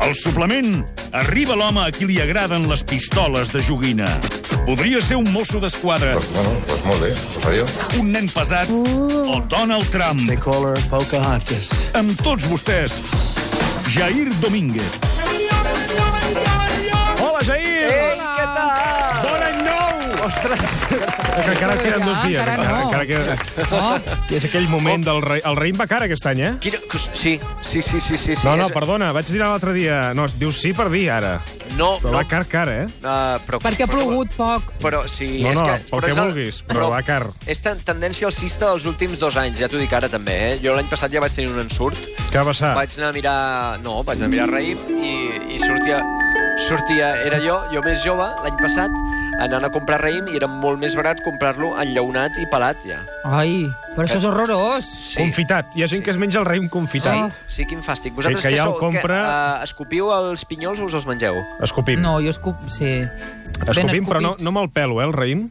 Al suplement, arriba l'home a qui li agraden les pistoles de joguina. Podria ser un mosso d'esquadra, Doncs, bueno, doncs molt bé, doncs adéu. un nen pesat o Donald Trump. They call her Pocahontas. Amb tots vostès, Jair Domínguez. Hola, Jair! Ei, què tal? Bon any nou! Ostres! Que encara queden dos dies. Ah, encara no. Oh. encara queda... És aquell moment del rei... El raïm va cara aquest any, eh? Quina... cos- Sí, sí, sí, sí, sí. sí No, no, és- perdona, vaig dir l'altre dia... No, dius sí per dir, ara. No, Però no. va car, car, eh? Uh, però, Perquè ha però- plogut poc. Però sí, No, és no, que... pel que és el- vulguis, però va car. És tan, tendència alcista dels últims dos anys, ja t'ho dic ara també, eh? Jo l'any passat ja vaig tenir un ensurt. Què va passar? Vaig anar a mirar... No, vaig anar a mirar raïm i, i sortia... Sortia, era jo, jo més jove, l'any passat, anant a comprar raïm i era molt més barat comprar-lo enllaunat i pelat, ja. Ai, però això Eh. és horrorós. Sí. Confitat. Hi ha gent Sí. que es menja el raïm confitat. Sí, sí, quin fàstic. Vosaltres que que, ja el sou, compra- que, uh, escopiu els pinyols o us els mengeu? Escopim. No, jo escup... Sí. Ben Escopim, escopit. però no, no me'l pelo, eh, el raïm.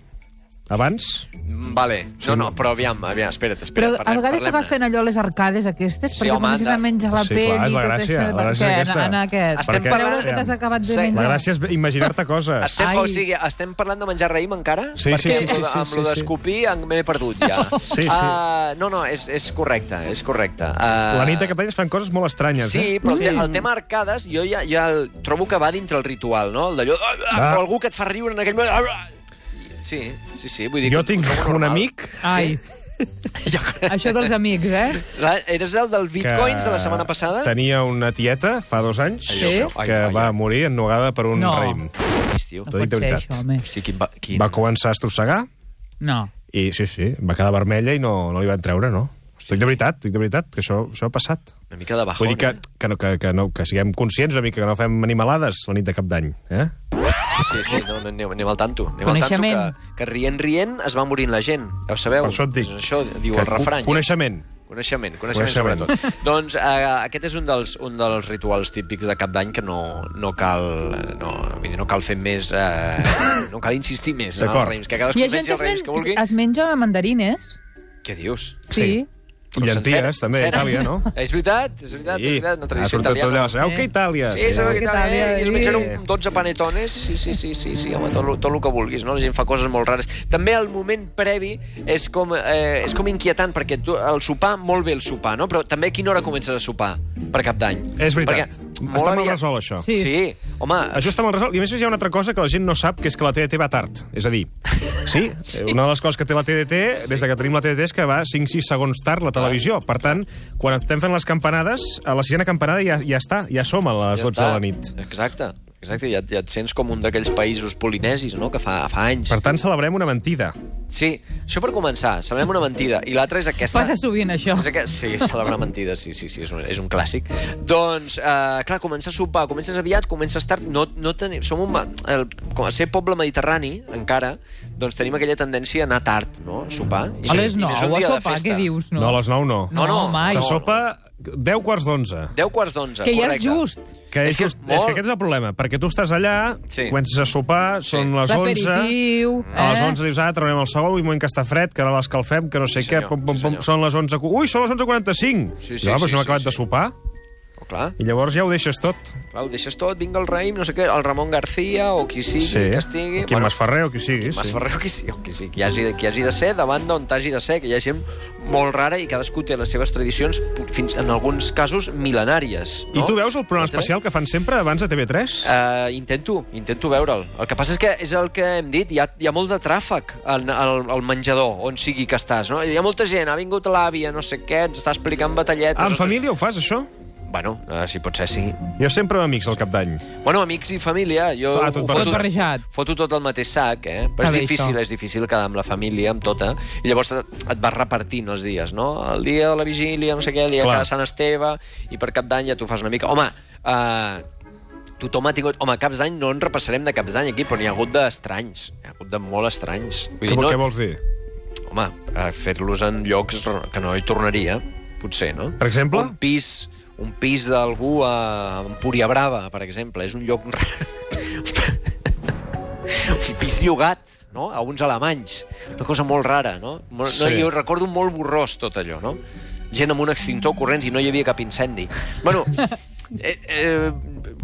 Abans? Mm, Vale. No, no, però aviam, aviam, espera't, Però espera't. a vegades te vas fent allò a les arcades aquestes, Sí, perquè home, comences a anda. menjar la Sí, pell clar, és i la tot gràcia, això. la gràcia Què, és aquesta. en, en aquest. Estem Perquè- parlant- Veure que t'has acabat de Sí. menjar. La gràcia és imaginar-te coses. Estem, Ai. o sigui, estem parlant de menjar raïm encara? Sí, Perquè sí, sí, sí, sí, amb sí, lo sí. d'escopir en- m'he perdut ja. Sí, sí. Ah, no, no, és, és correcte, és correcte. Uh, La nit de Capelles fan coses molt estranyes, eh? Sí, però el, te el tema arcades jo ja, ja el trobo que va dintre el ritual, no? El d'allò... Ah, ah, Ah. O algú que et fa riure en aquell moment... Ah, ah. Sí, sí, sí, vull dir... Jo que ho tinc trobo un normal. amic... Ai, Jo... això dels amics, eh? La- Eres el del bitcoins de la setmana passada? Tenia una tieta fa dos anys Sí? Ai, que ai, va ai. morir ennogada per un No. raïm. Hòstia, No T'ho dic de pot ser, veritat. això, home. Hosti, quin... Va, quin... Va començar a estrossegar No. i sí, sí, va quedar vermella i no, no li van treure, no? Estic de veritat, estic de veritat, que això, això ha passat. Una mica de bajón, Vull dir que, eh? que, no, que, que, no, que siguem conscients una mica, que no fem animalades la nit de cap d'any. Eh? Sí, sí, no, no, anem, anem al tanto. Anem al tanto Coneixement. que, que rient, rient, es va morint la gent. Ja ho sabeu. Per això et dic. És doncs això diu que el refrany. eh? co- Coneixement. Coneixement, coneixement, Coneixement. sobretot. doncs eh, aquest és un dels, un dels rituals típics de cap d'any que no, no cal... eh, No, vull dir, no cal fer més... Eh, no cal insistir més en els D'acord. raïms. Que cadascú Hi ha gent mengi que els es, raïms que men vulgui. es menja mandarines. Què dius? Sí. I Però llenties, senceres, també, a senceres. Itàlia, no? És veritat, és veritat, és veritat, una tradició ha sortit tot allò. italiana. Sabeu que Itàlia? Sí, sabeu que tal, Itàlia, eh? I es sí. mengen un 12 panetones, sí, sí, sí, sí, sí home, tot, lo- tot el que vulguis, no? La gent fa coses molt rares. També el moment previ és com, eh, és com inquietant, perquè tu, el sopar, molt bé el sopar, no? Però també a quina hora comences a sopar per cap d'any? És veritat. Perquè Està mal aviat- resolt, això. Sí. Sí. sí, home, Això està mal resolt. I a més hi ha una altra cosa que la gent no sap, que és que la TDT va tard. És a dir, sí, una de les coses que té la TDT, des de que tenim la TDT, és que va 5-6 segons tard la televisió. Per tant, quan estem fent les campanades, a la sisena campanada ja, ja està, ja som a les 12 de la nit. Exacte. Exacte, ja, et- ja et sents com un d'aquells països polinesis, no?, que fa, fa anys. Per tant, celebrem una mentida. Sí, això per començar, celebrem una mentida. I l'altra és aquesta... Passa sovint, això. És aquest... Sí, celebrar mentides, sí, sí, sí, és un, és un clàssic. Doncs, eh, clar, comença a sopar, comences aviat, comences tard, no, no tenim... Som un... ma- El, com a ser poble mediterrani, encara, doncs tenim aquella tendència a anar tard, no?, a sopar. A les més- 9, més un a dia de sopar, festa. què dius? No, a les 9 no. No, No, no, mai. Se no. sopa 10 quarts d'11. 10 quarts d'11, Que ja és correcte. just. Que és, És que just, és és molt- que aquest és el problema, perquè tu estàs allà, Sí. comences a sopar, Sí. són les 11... L'aperitiu, eh? A les 11 dius, ah, traurem el segon, i moment que està fred, que ara l'escalfem, que no sé Sí, què, senyor, pom, pom, sí, pom, senyor. són les 11... cu- Ui, són les 11.45! Sí, sí, Diu, ah, sí, però si no sí, he acabat sí. de sopar. Oh, clar, I llavors ja ho deixes tot. clar, ho deixes tot, vinga el raïm, no sé què, el Ramon García o qui sigui, que estigui... Quim bueno, Masferrer o qui sigui. Mas Ferrer, o qui, sigui, o qui, sigui, qui, hagi, qui hagi de ser, davant d'on t'hagi de ser, que hi ha gent molt rara i cadascú té les seves tradicions, fins en alguns casos, mil·lenàries. I No? tu veus el programa TV3? especial que fan sempre abans de TV3? Uh, intento, intento veure'l. El que passa és que és el que hem dit, hi ha, hi ha molt de tràfic al, al, al menjador, on sigui que estàs. No? Hi ha molta gent, ha vingut l'àvia, no sé què, ens està explicant batalletes... Ah, en família ho fas, això? Bueno, uh, si pot ser, sí. Jo sempre amb amics al cap d'any. Bueno, amics i família, jo Ah, ho tot barrejat. foto- Tot barrejat. Foto tot al mateix sac, eh? Però Ah, bé, és difícil, això. és difícil quedar amb la família, amb tota, i llavors et et vas repartint els dies, no? El dia de la vigília, no sé què, el dia Clar. de Sant Esteve, i per cap d'any ja t'ho fas una mica... Home, eh, tothom ha tingut... Home, caps d'any no en repassarem de caps d'any aquí, però n'hi ha hagut d'estranys. Hi ha hagut de molt estranys. Vull Què, dir, no... què no, vols dir? home, eh, fer-los en llocs que no hi tornaria, potser, no? Per exemple? Un pis, un pis d'algú a Empúria Brava, per exemple. És un lloc... rar. un pis llogat, no?, a uns alemanys. Una cosa molt rara, no? Molt, no Sí. jo recordo molt borrós tot allò, no? Gent amb un extintor corrents i no hi havia cap incendi. Bueno, eh, eh,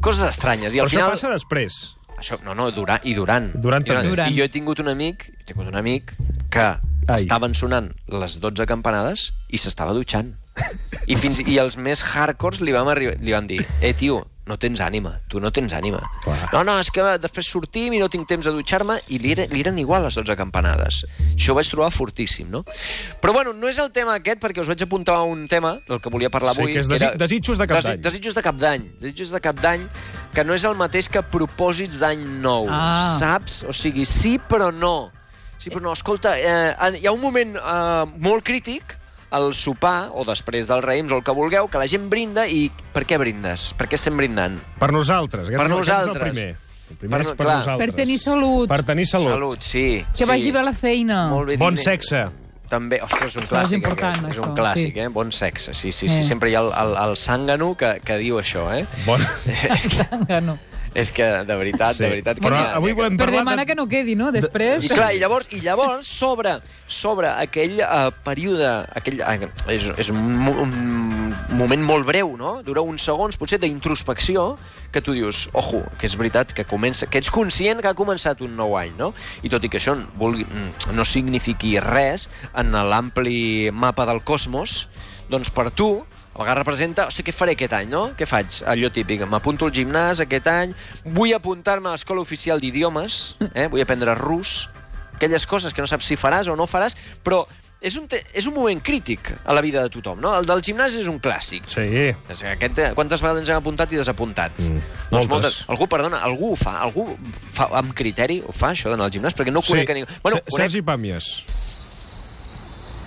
coses estranyes. I al Però final... això passa després. Això, no, no, Durant, i Durant. Durant I, Durant. també. Durant. I jo he tingut un amic, he tingut un amic que Ai. estaven sonant les 12 campanades i s'estava dutxant. I, fins, I els més hardcores li, vam arribar, li van dir «Eh, tio, no tens ànima, tu no tens ànima». No, no, és que després sortim i no tinc temps de dutxar-me i li, era, li eren igual les 12 campanades. Això ho vaig trobar fortíssim, no? Però bueno, no és el tema aquest perquè us vaig apuntar a un tema del que volia parlar Sí, avui. que és desi- desitjos de cap Desi- d'any. Desitjos de cap d'any. Desitjos de cap d'any que no és el mateix que propòsits d'any nou. Ah. Saps? O sigui, sí però no. Sí però no. Escolta, eh, en- hi ha un moment eh, molt crític al sopar o després dels raïms o el que vulgueu, que la gent brinda i per què brindes? Per què estem brindant? Per nosaltres. Aquest Per és el- aquest nosaltres. És el primer. El primer Per per, no- és per clar. nosaltres. Per tenir salut. Per tenir salut. Salut, sí. Que sí. vagi bé a la feina. Molt bé, Bon diner. sexe. També, ostres, és un és clàssic. eh, important, aquest. és un això, clàssic, sí. eh? Bon sexe, sí, sí, sí. Eh. Sempre hi ha el, el, el sàngano que, que diu això, eh? Bon... és, que, No. és que, de veritat, sí. de veritat... Que Però n'hi ha, avui n'hi ha volem Per parlar... demanar que no quedi, no? Després... I clar, i llavors, i llavors sobre, sobre aquell uh, període, aquell, uh, és, és un, mo- un moment molt breu, no? Dura uns segons, potser, d'introspecció, que tu dius, ojo, que és veritat que comença, que ets conscient que ha començat un nou any, no? I tot i que això vulgui, mm, no signifiqui res en l'ampli mapa del cosmos, doncs per tu, a vegades representa, hosti, què faré aquest any, no? Què faig? Allò típic, m'apunto al gimnàs aquest any, vull apuntar-me a l'escola oficial d'idiomes, eh? vull aprendre rus, aquelles coses que no saps si faràs o no faràs, però és un, te- és un moment crític a la vida de tothom, no? El del gimnàs és un clàssic. Sí. És que Aquest, eh, quantes vegades ens hem apuntat i desapuntat? Doncs Mm, moltes. Algú, perdona, algú ho fa, algú fa, amb criteri ho fa, això d'anar al gimnàs, perquè no conec a ningú. Bueno, Se- conec Sergi Pàmies.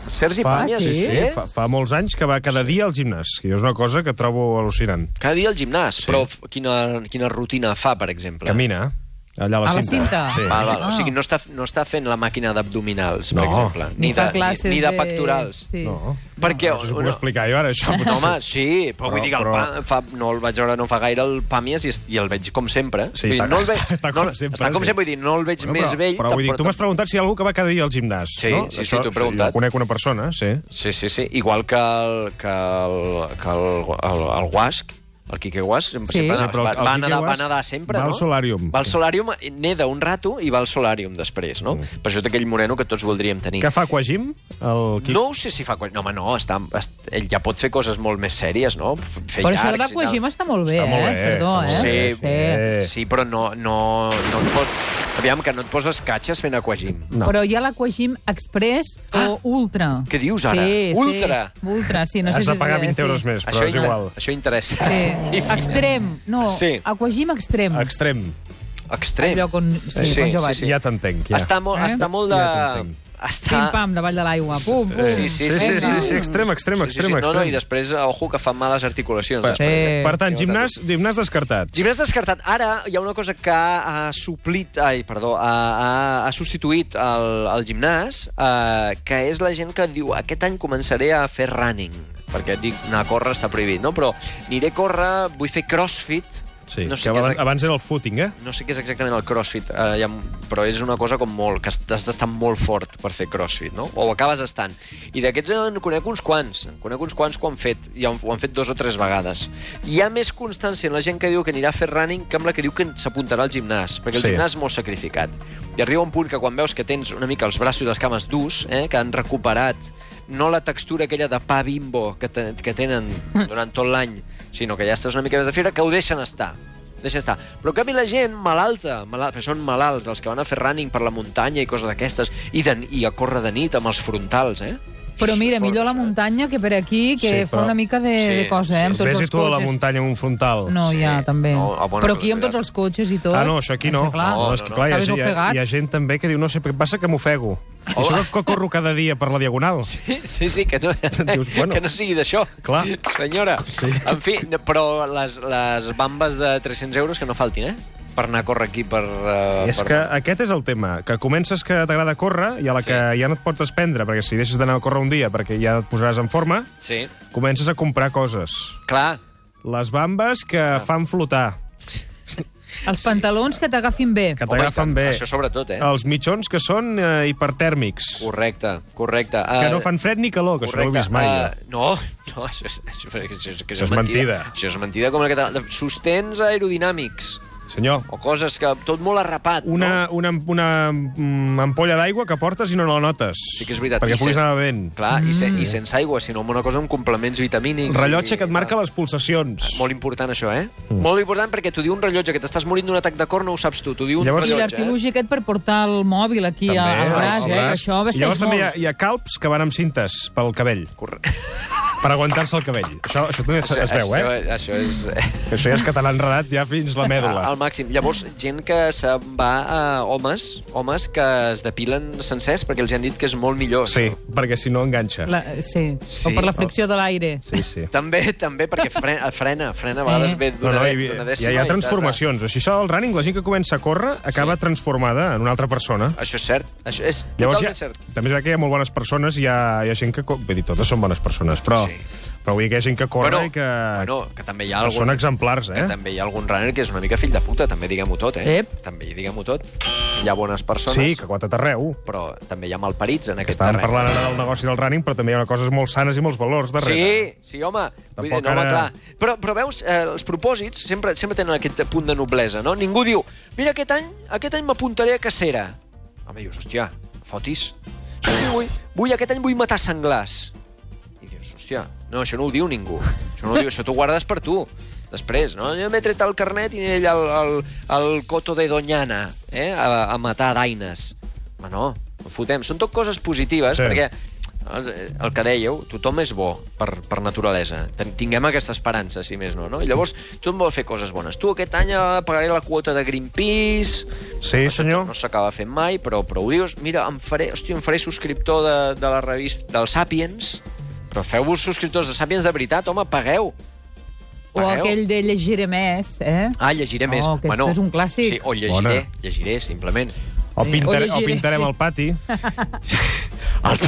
Sergi Pàmies, sí, sí, eh? fa, fa molts anys que va cada dia al gimnàs, que és una cosa que trobo al·lucinant. Cada dia al gimnàs, sí. però f- quina, quina rutina fa, per exemple? Camina, allà a la A la cinta. cinta. Sí. Val, val. Ah. O sigui, no està, no està fent la màquina d'abdominals, per No. exemple. Ni, de, fa classes ni, ni de de- pectorals. Sí. No. Perquè... No sé si ho puc no, explicar jo ara, això. no, home, sí, però, vull Però- dir que el però- pa, fa, no el vaig veure no fa gaire el Pàmies i, es- i el veig com sempre. Sí, Vull dir, està- no el veig, està- està no, com sempre, Està com sí. sempre, vull dir, no el veig Bueno, més però, vell... Però vull dir, tampoc- tu m'has preguntat si hi ha algú que va cada dia al gimnàs, Sí, no? sí, sí, t'ho he preguntat. Jo conec una persona, sí. Sí, sí, sí. Igual que el, que el, que el, el, el Guasc, el Quique Guasc, sempre, Sí. sempre Sí, anava- però el- va, el va, Quique nedar, va Guasc nedar sempre, va no? al solàrium. Va al solàrium, neda un rato i va al solàrium després, no? Mm. Per això té aquell moreno que tots voldríem tenir. Què fa Quagim? El Quic? No ho sé si fa... quan- No, home, no, està, est... ell ja pot fer coses molt més sèries, no? F- Fer Però això de llargs i tal. l'aquagim està molt bé, Està molt eh? bé, Perdó, està molt eh? Sí, bé, sí. Eh. sí, però no, no, no et pot... Aviam, que no et poses catxes fent aquagim. No. Però hi ha l'aquagim express o ultra. Ah! Què dius, ara? Sí, sí. Ultra? Ultra, sí. No sé Has si de és pagar bé, 20 euros sí. més, però és inter- igual. això interessa. Sí. Extrem. No, Sí. aquagim extrem. Extrem. Extrem. Allò on... Mm. Sí, Sí, on jo sí, vaig. sí. Ja t'entenc, ja. Està, molt, Eh? està molt de... Ja t'entenc. Està... Pim-pam, davall de l'aigua. Oh, Pum, pum. Sí, sí, sí, sí, sí, sí. sí, extrem, extrem, Sí, sí, sí. No, extrem, no, extrem. i després, ojo, que fan males articulacions. Per- després, eh? Sí. Per tant, gimnàs, gimnàs descartat. Gimnàs descartat. Ara hi ha una cosa que ha suplit, ai, perdó, ha, ha, ha substituït el, el gimnàs, eh, que és la gent que diu aquest any començaré a fer running, perquè dic anar a córrer està prohibit, no? Però aniré a córrer, vull fer crossfit, Sí, no, sé que què abans, és, abans era el footing, eh? no sé què és exactament el crossfit, eh, ja, però és una cosa com molt, que has d'estar molt fort per fer crossfit, no? O acabes estant. I d'aquests en conec uns quants, en conec uns quants que ho han fet, i han- ho han fet dos o tres vegades. Hi ha més constància en la gent que diu que anirà a fer running que amb la que diu que s'apuntarà al gimnàs, perquè el Sí. sí. gimnàs és molt sacrificat. I arriba un punt que quan veus que tens una mica els braços i les cames durs, eh, que han recuperat no la textura aquella de pa bimbo que, te, que tenen durant tot l'any, sinó que ja estàs una mica més de fibra, que ho deixen estar. Deixen estar. Però en canvi la gent malalta, malalta, són malalts, els que van a fer running per la muntanya i coses d'aquestes, i, de, i a córrer de nit amb els frontals, eh? Però mira, Forts, millor la eh? muntanya que per aquí, que Sí, fa però- una mica de, Sí, de cosa, sí, eh? Amb sí. tots Vés-hi els tu a la cotxes. muntanya amb un frontal. No, Sí. ja, també. No, a bona però aquí velocitat. amb tots els cotxes i tot. Ah, no, això aquí no. Eh, Clar. No, No, és que no, clar, hi ha, T'havies hi, ha, ofegat. hi ha gent també que diu, no sé què passa, que m'ofego. I això que corro cada dia per la diagonal. Sí, sí, sí, que no, Dius, bueno. que no sigui d'això. Clar. Senyora. Sí. En fi, no, però les, les bambes de 300 euros que no faltin, eh? Per anar a córrer aquí per... Uh, És per... que aquest és el tema, que comences que t'agrada córrer i a la Sí. que ja no et pots desprendre, perquè si deixes d'anar a córrer un dia perquè ja et posaràs en forma, Sí, comences a comprar coses. clar. Ah. Les bambes que fan flotar. Els pantalons que t'agafin bé. Que t'agafen bé. Això sobretot, eh? Els mitjons que són eh, hipertèrmics. Correcte, correcte. Que Eh, no fan fred ni calor, que això no ho he vist mai. eh, jo. no, no, això és, això, és- això, és, Això és mentida. Això és mentida com el català. Sostens aerodinàmics Senyor, o coses que... Tot molt arrapat, una, no? una, una mm, ampolla d'aigua que portes i no la notes. Sí que és veritat. Perquè I puguis sen- anar bevent. Clar, i, se, i sense aigua, sinó amb una cosa amb complements vitamínics. Mm. Rellotge i- que et marca les pulsacions. Molt important, això, eh? Mm. Molt important perquè t'ho diu un rellotge, que t'estàs morint d'un atac de cor, no ho saps tu, t'ho diu un Llavors- I rellotge, eh? l'artilugi aquest per portar el mòbil aquí També, al braç, al eh? Que braç. això I vesteix llavors molt. també hi ha, hi ha calps que van amb cintes pel cabell, Correcte. per aguantar-se el cabell. Això, això també es, es veu, eh? Això, això és... eh, Que això ja és català enredat ja fins la mèdula. Al màxim. Llavors, gent que se'n va a homes, homes que es depilen sencers perquè els han dit que és molt millor. Sí, perquè si no enganxa. La, sí. Sí. o per la fricció de l'aire. Sí, sí. També, també, perquè frena, frena, frena a vegades Eh? ve No, d'una no, de- hi, d'una hi, dècima hi eh, i ha t'has de- transformacions. Així això del running, la gent que comença a córrer acaba transformada en una altra persona. Això és cert. Això és Llavors, totalment hi ha, cert. també és veritat que hi ha molt bones persones, hi ha, hi ha gent que... co- Vull dir, totes són bones persones, però... Sí. Però vull dir que hi ha gent que corre i que... bueno, que també hi ha que algun... són exemplars, eh? Que també hi ha algun runner que és una mica fill de puta, també diguem-ho tot, eh? Ep. També diguem-ho tot. Hi ha bones persones, Sí, que quota arreu. però també hi ha malparits en Que aquest estàvem terreny. parlant ara del negoci del running, però també hi ha coses molt sanes i molts valors darrere. Sí, sí, home. Vull dir, Tampoc no, home, ara- clar. Però, però veus, eh, els propòsits sempre, sempre tenen aquest punt de noblesa, no? Ningú diu, mira, aquest any aquest any m'apuntaré a cacera. Home, dius, hòstia, fotis. Sí, sí, vull, vull, aquest any vull matar senglars. I dius, hòstia, no, això no ho diu ningú. Això no ho diu, això t'ho guardes per tu. Després, no? Jo m'he tret el carnet i he anat allà al, al, al coto de Doñana, eh? A, a matar daines. Home, no, no fotem. Són tot coses positives, Sí. sí. perquè el, el que dèieu, tothom és bo per, per naturalesa. Ten- Tinguem aquesta esperança, si més no, no? I llavors, tothom vol fer coses bones. Tu aquest any eh, pagaré la quota de Greenpeace, Sí, senyor. no s'acaba fent mai, però, però ho dius, mira, em faré, hòstia, em faré subscriptor de, de la revista del Sapiens, però feu-vos subscriptors de Sapiens de veritat, home, pagueu. O aquell de llegiré més, eh? Ah, llegiré Oh, més. que és un clàssic. Sí, o llegiré, Bona. llegiré, simplement. O, Sí, pintar, o o, llegiré, pintarem sí. el pati.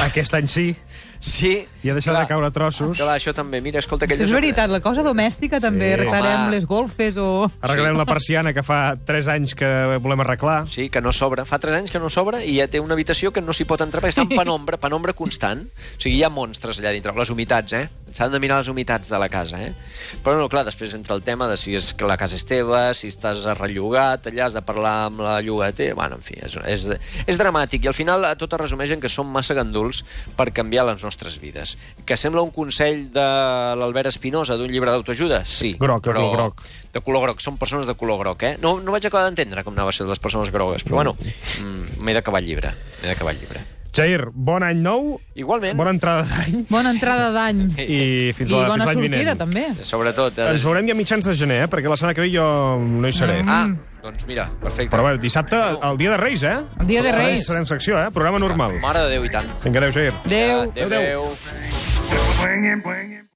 Aquest any sí. Sí. I ha deixat clar, de caure trossos. Clar, això també, mira, escolta... Això és veritat, la cosa domèstica també. Sí. Arreglarem Home. Ah, les golfes o... Arreglem la persiana que fa 3 anys que volem arreglar. Sí, que no s'obre. Fa 3 anys que no s'obre i ja té una habitació que no s'hi pot entrar perquè està en penombra, penombra constant. O sigui, hi ha monstres allà dintre. Les humitats, eh? S'han de mirar les humitats de la casa, eh? Però no, clar, després entra el tema de si és que la casa és teva, si estàs rellogat, allà has de parlar amb la llogater... Bueno, en fi, és, és, és dramàtic. I al final eh, tot es resumeix en que som massa ganduls per canviar les nostres vides. Que sembla un consell de l'Albert Espinosa d'un llibre d'autoajuda? Sí. Groc, de color groc. De color groc, són persones de color groc, eh? No, no vaig acabar d'entendre com anava a ser les persones grogues, però bueno, mm, m'he d'acabar el llibre, m'he d'acabar el llibre. Jair, bon any nou, Igualment, bona entrada d'any Bona entrada d'any. i fins I a la- fins bona l'any sortida, vinent. també. sobretot... Eh, Ens veurem ja a mitjans de gener, eh? perquè la setmana que ve jo no hi seré. Ah, doncs mira, perfecte. Però bé, dissabte, el dia de Reis, eh? El dia de Farem- Reis. Farem secció, eh? Programa normal. Mare de Déu i tant. Vinga, adéu, Jair. Adéu. Adéu. Adéu.